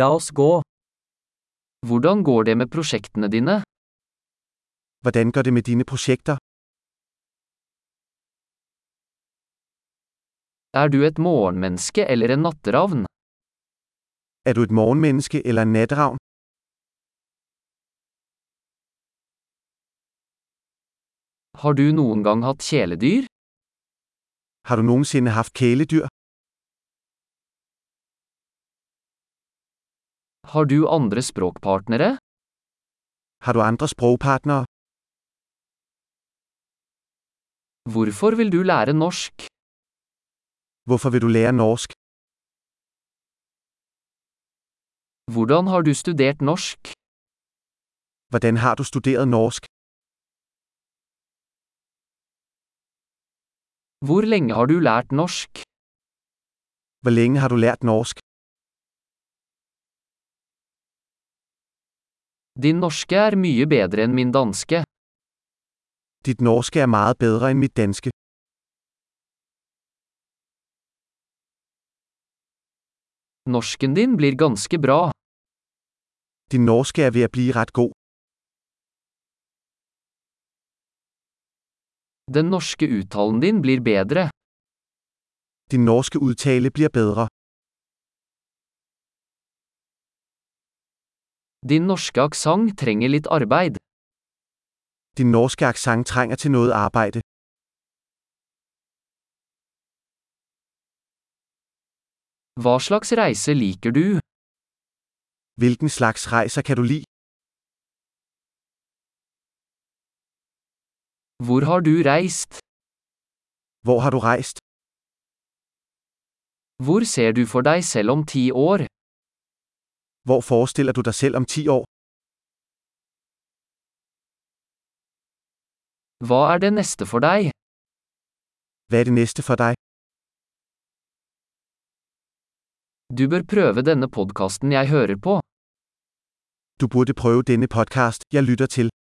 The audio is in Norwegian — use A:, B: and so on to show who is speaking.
A: La oss gå. Hvordan går det med prosjektene dine?
B: Hvordan går det med dine projekter?
A: Er du et morgenmenneske eller en natteravn?
B: Er du et morgenmenneske eller en natteravn?
A: Har du noen gang hatt kjæledyr?
B: Har du nogensinde haft kæledyr?
A: Har du andre språkpartnere?
B: Har du andre sprogpartnere?
A: Hvorfor vil du lære norsk?
B: Hvorfor vil du lære norsk?
A: Hvordan har du studert norsk?
B: Hvordan har du studeret norsk?
A: Hvor lenge har du lært norsk?
B: Hvor lenge har du lært norsk?
A: Din norske er mye bedre enn min danske.
B: Dit norske er meget bedre end mit danske.
A: Norsken din blir ganske bra.
B: Din norske er ved at blive ret god.
A: Den norske uttalen din blir bedre.
B: Din norske udtale bliver bedre.
A: Din norske aksent trenger litt arbeid.
B: Din norske accent trænger til noget arbejde.
A: Hva slags reise liker du?
B: Hvilken slags rejser kan du lide?
A: Hvor har du reist?
B: Hvor har du rejst?
A: Hvor ser du for deg selv om ti år?
B: Hvor forestiller du dig selv om 10 år?
A: Hva er det neste for deg?
B: Hvad er det næste for dig?
A: Du bør prøve denne podkasten jeg hører på.
B: Du burde prøve denne podcast, jeg lytter til.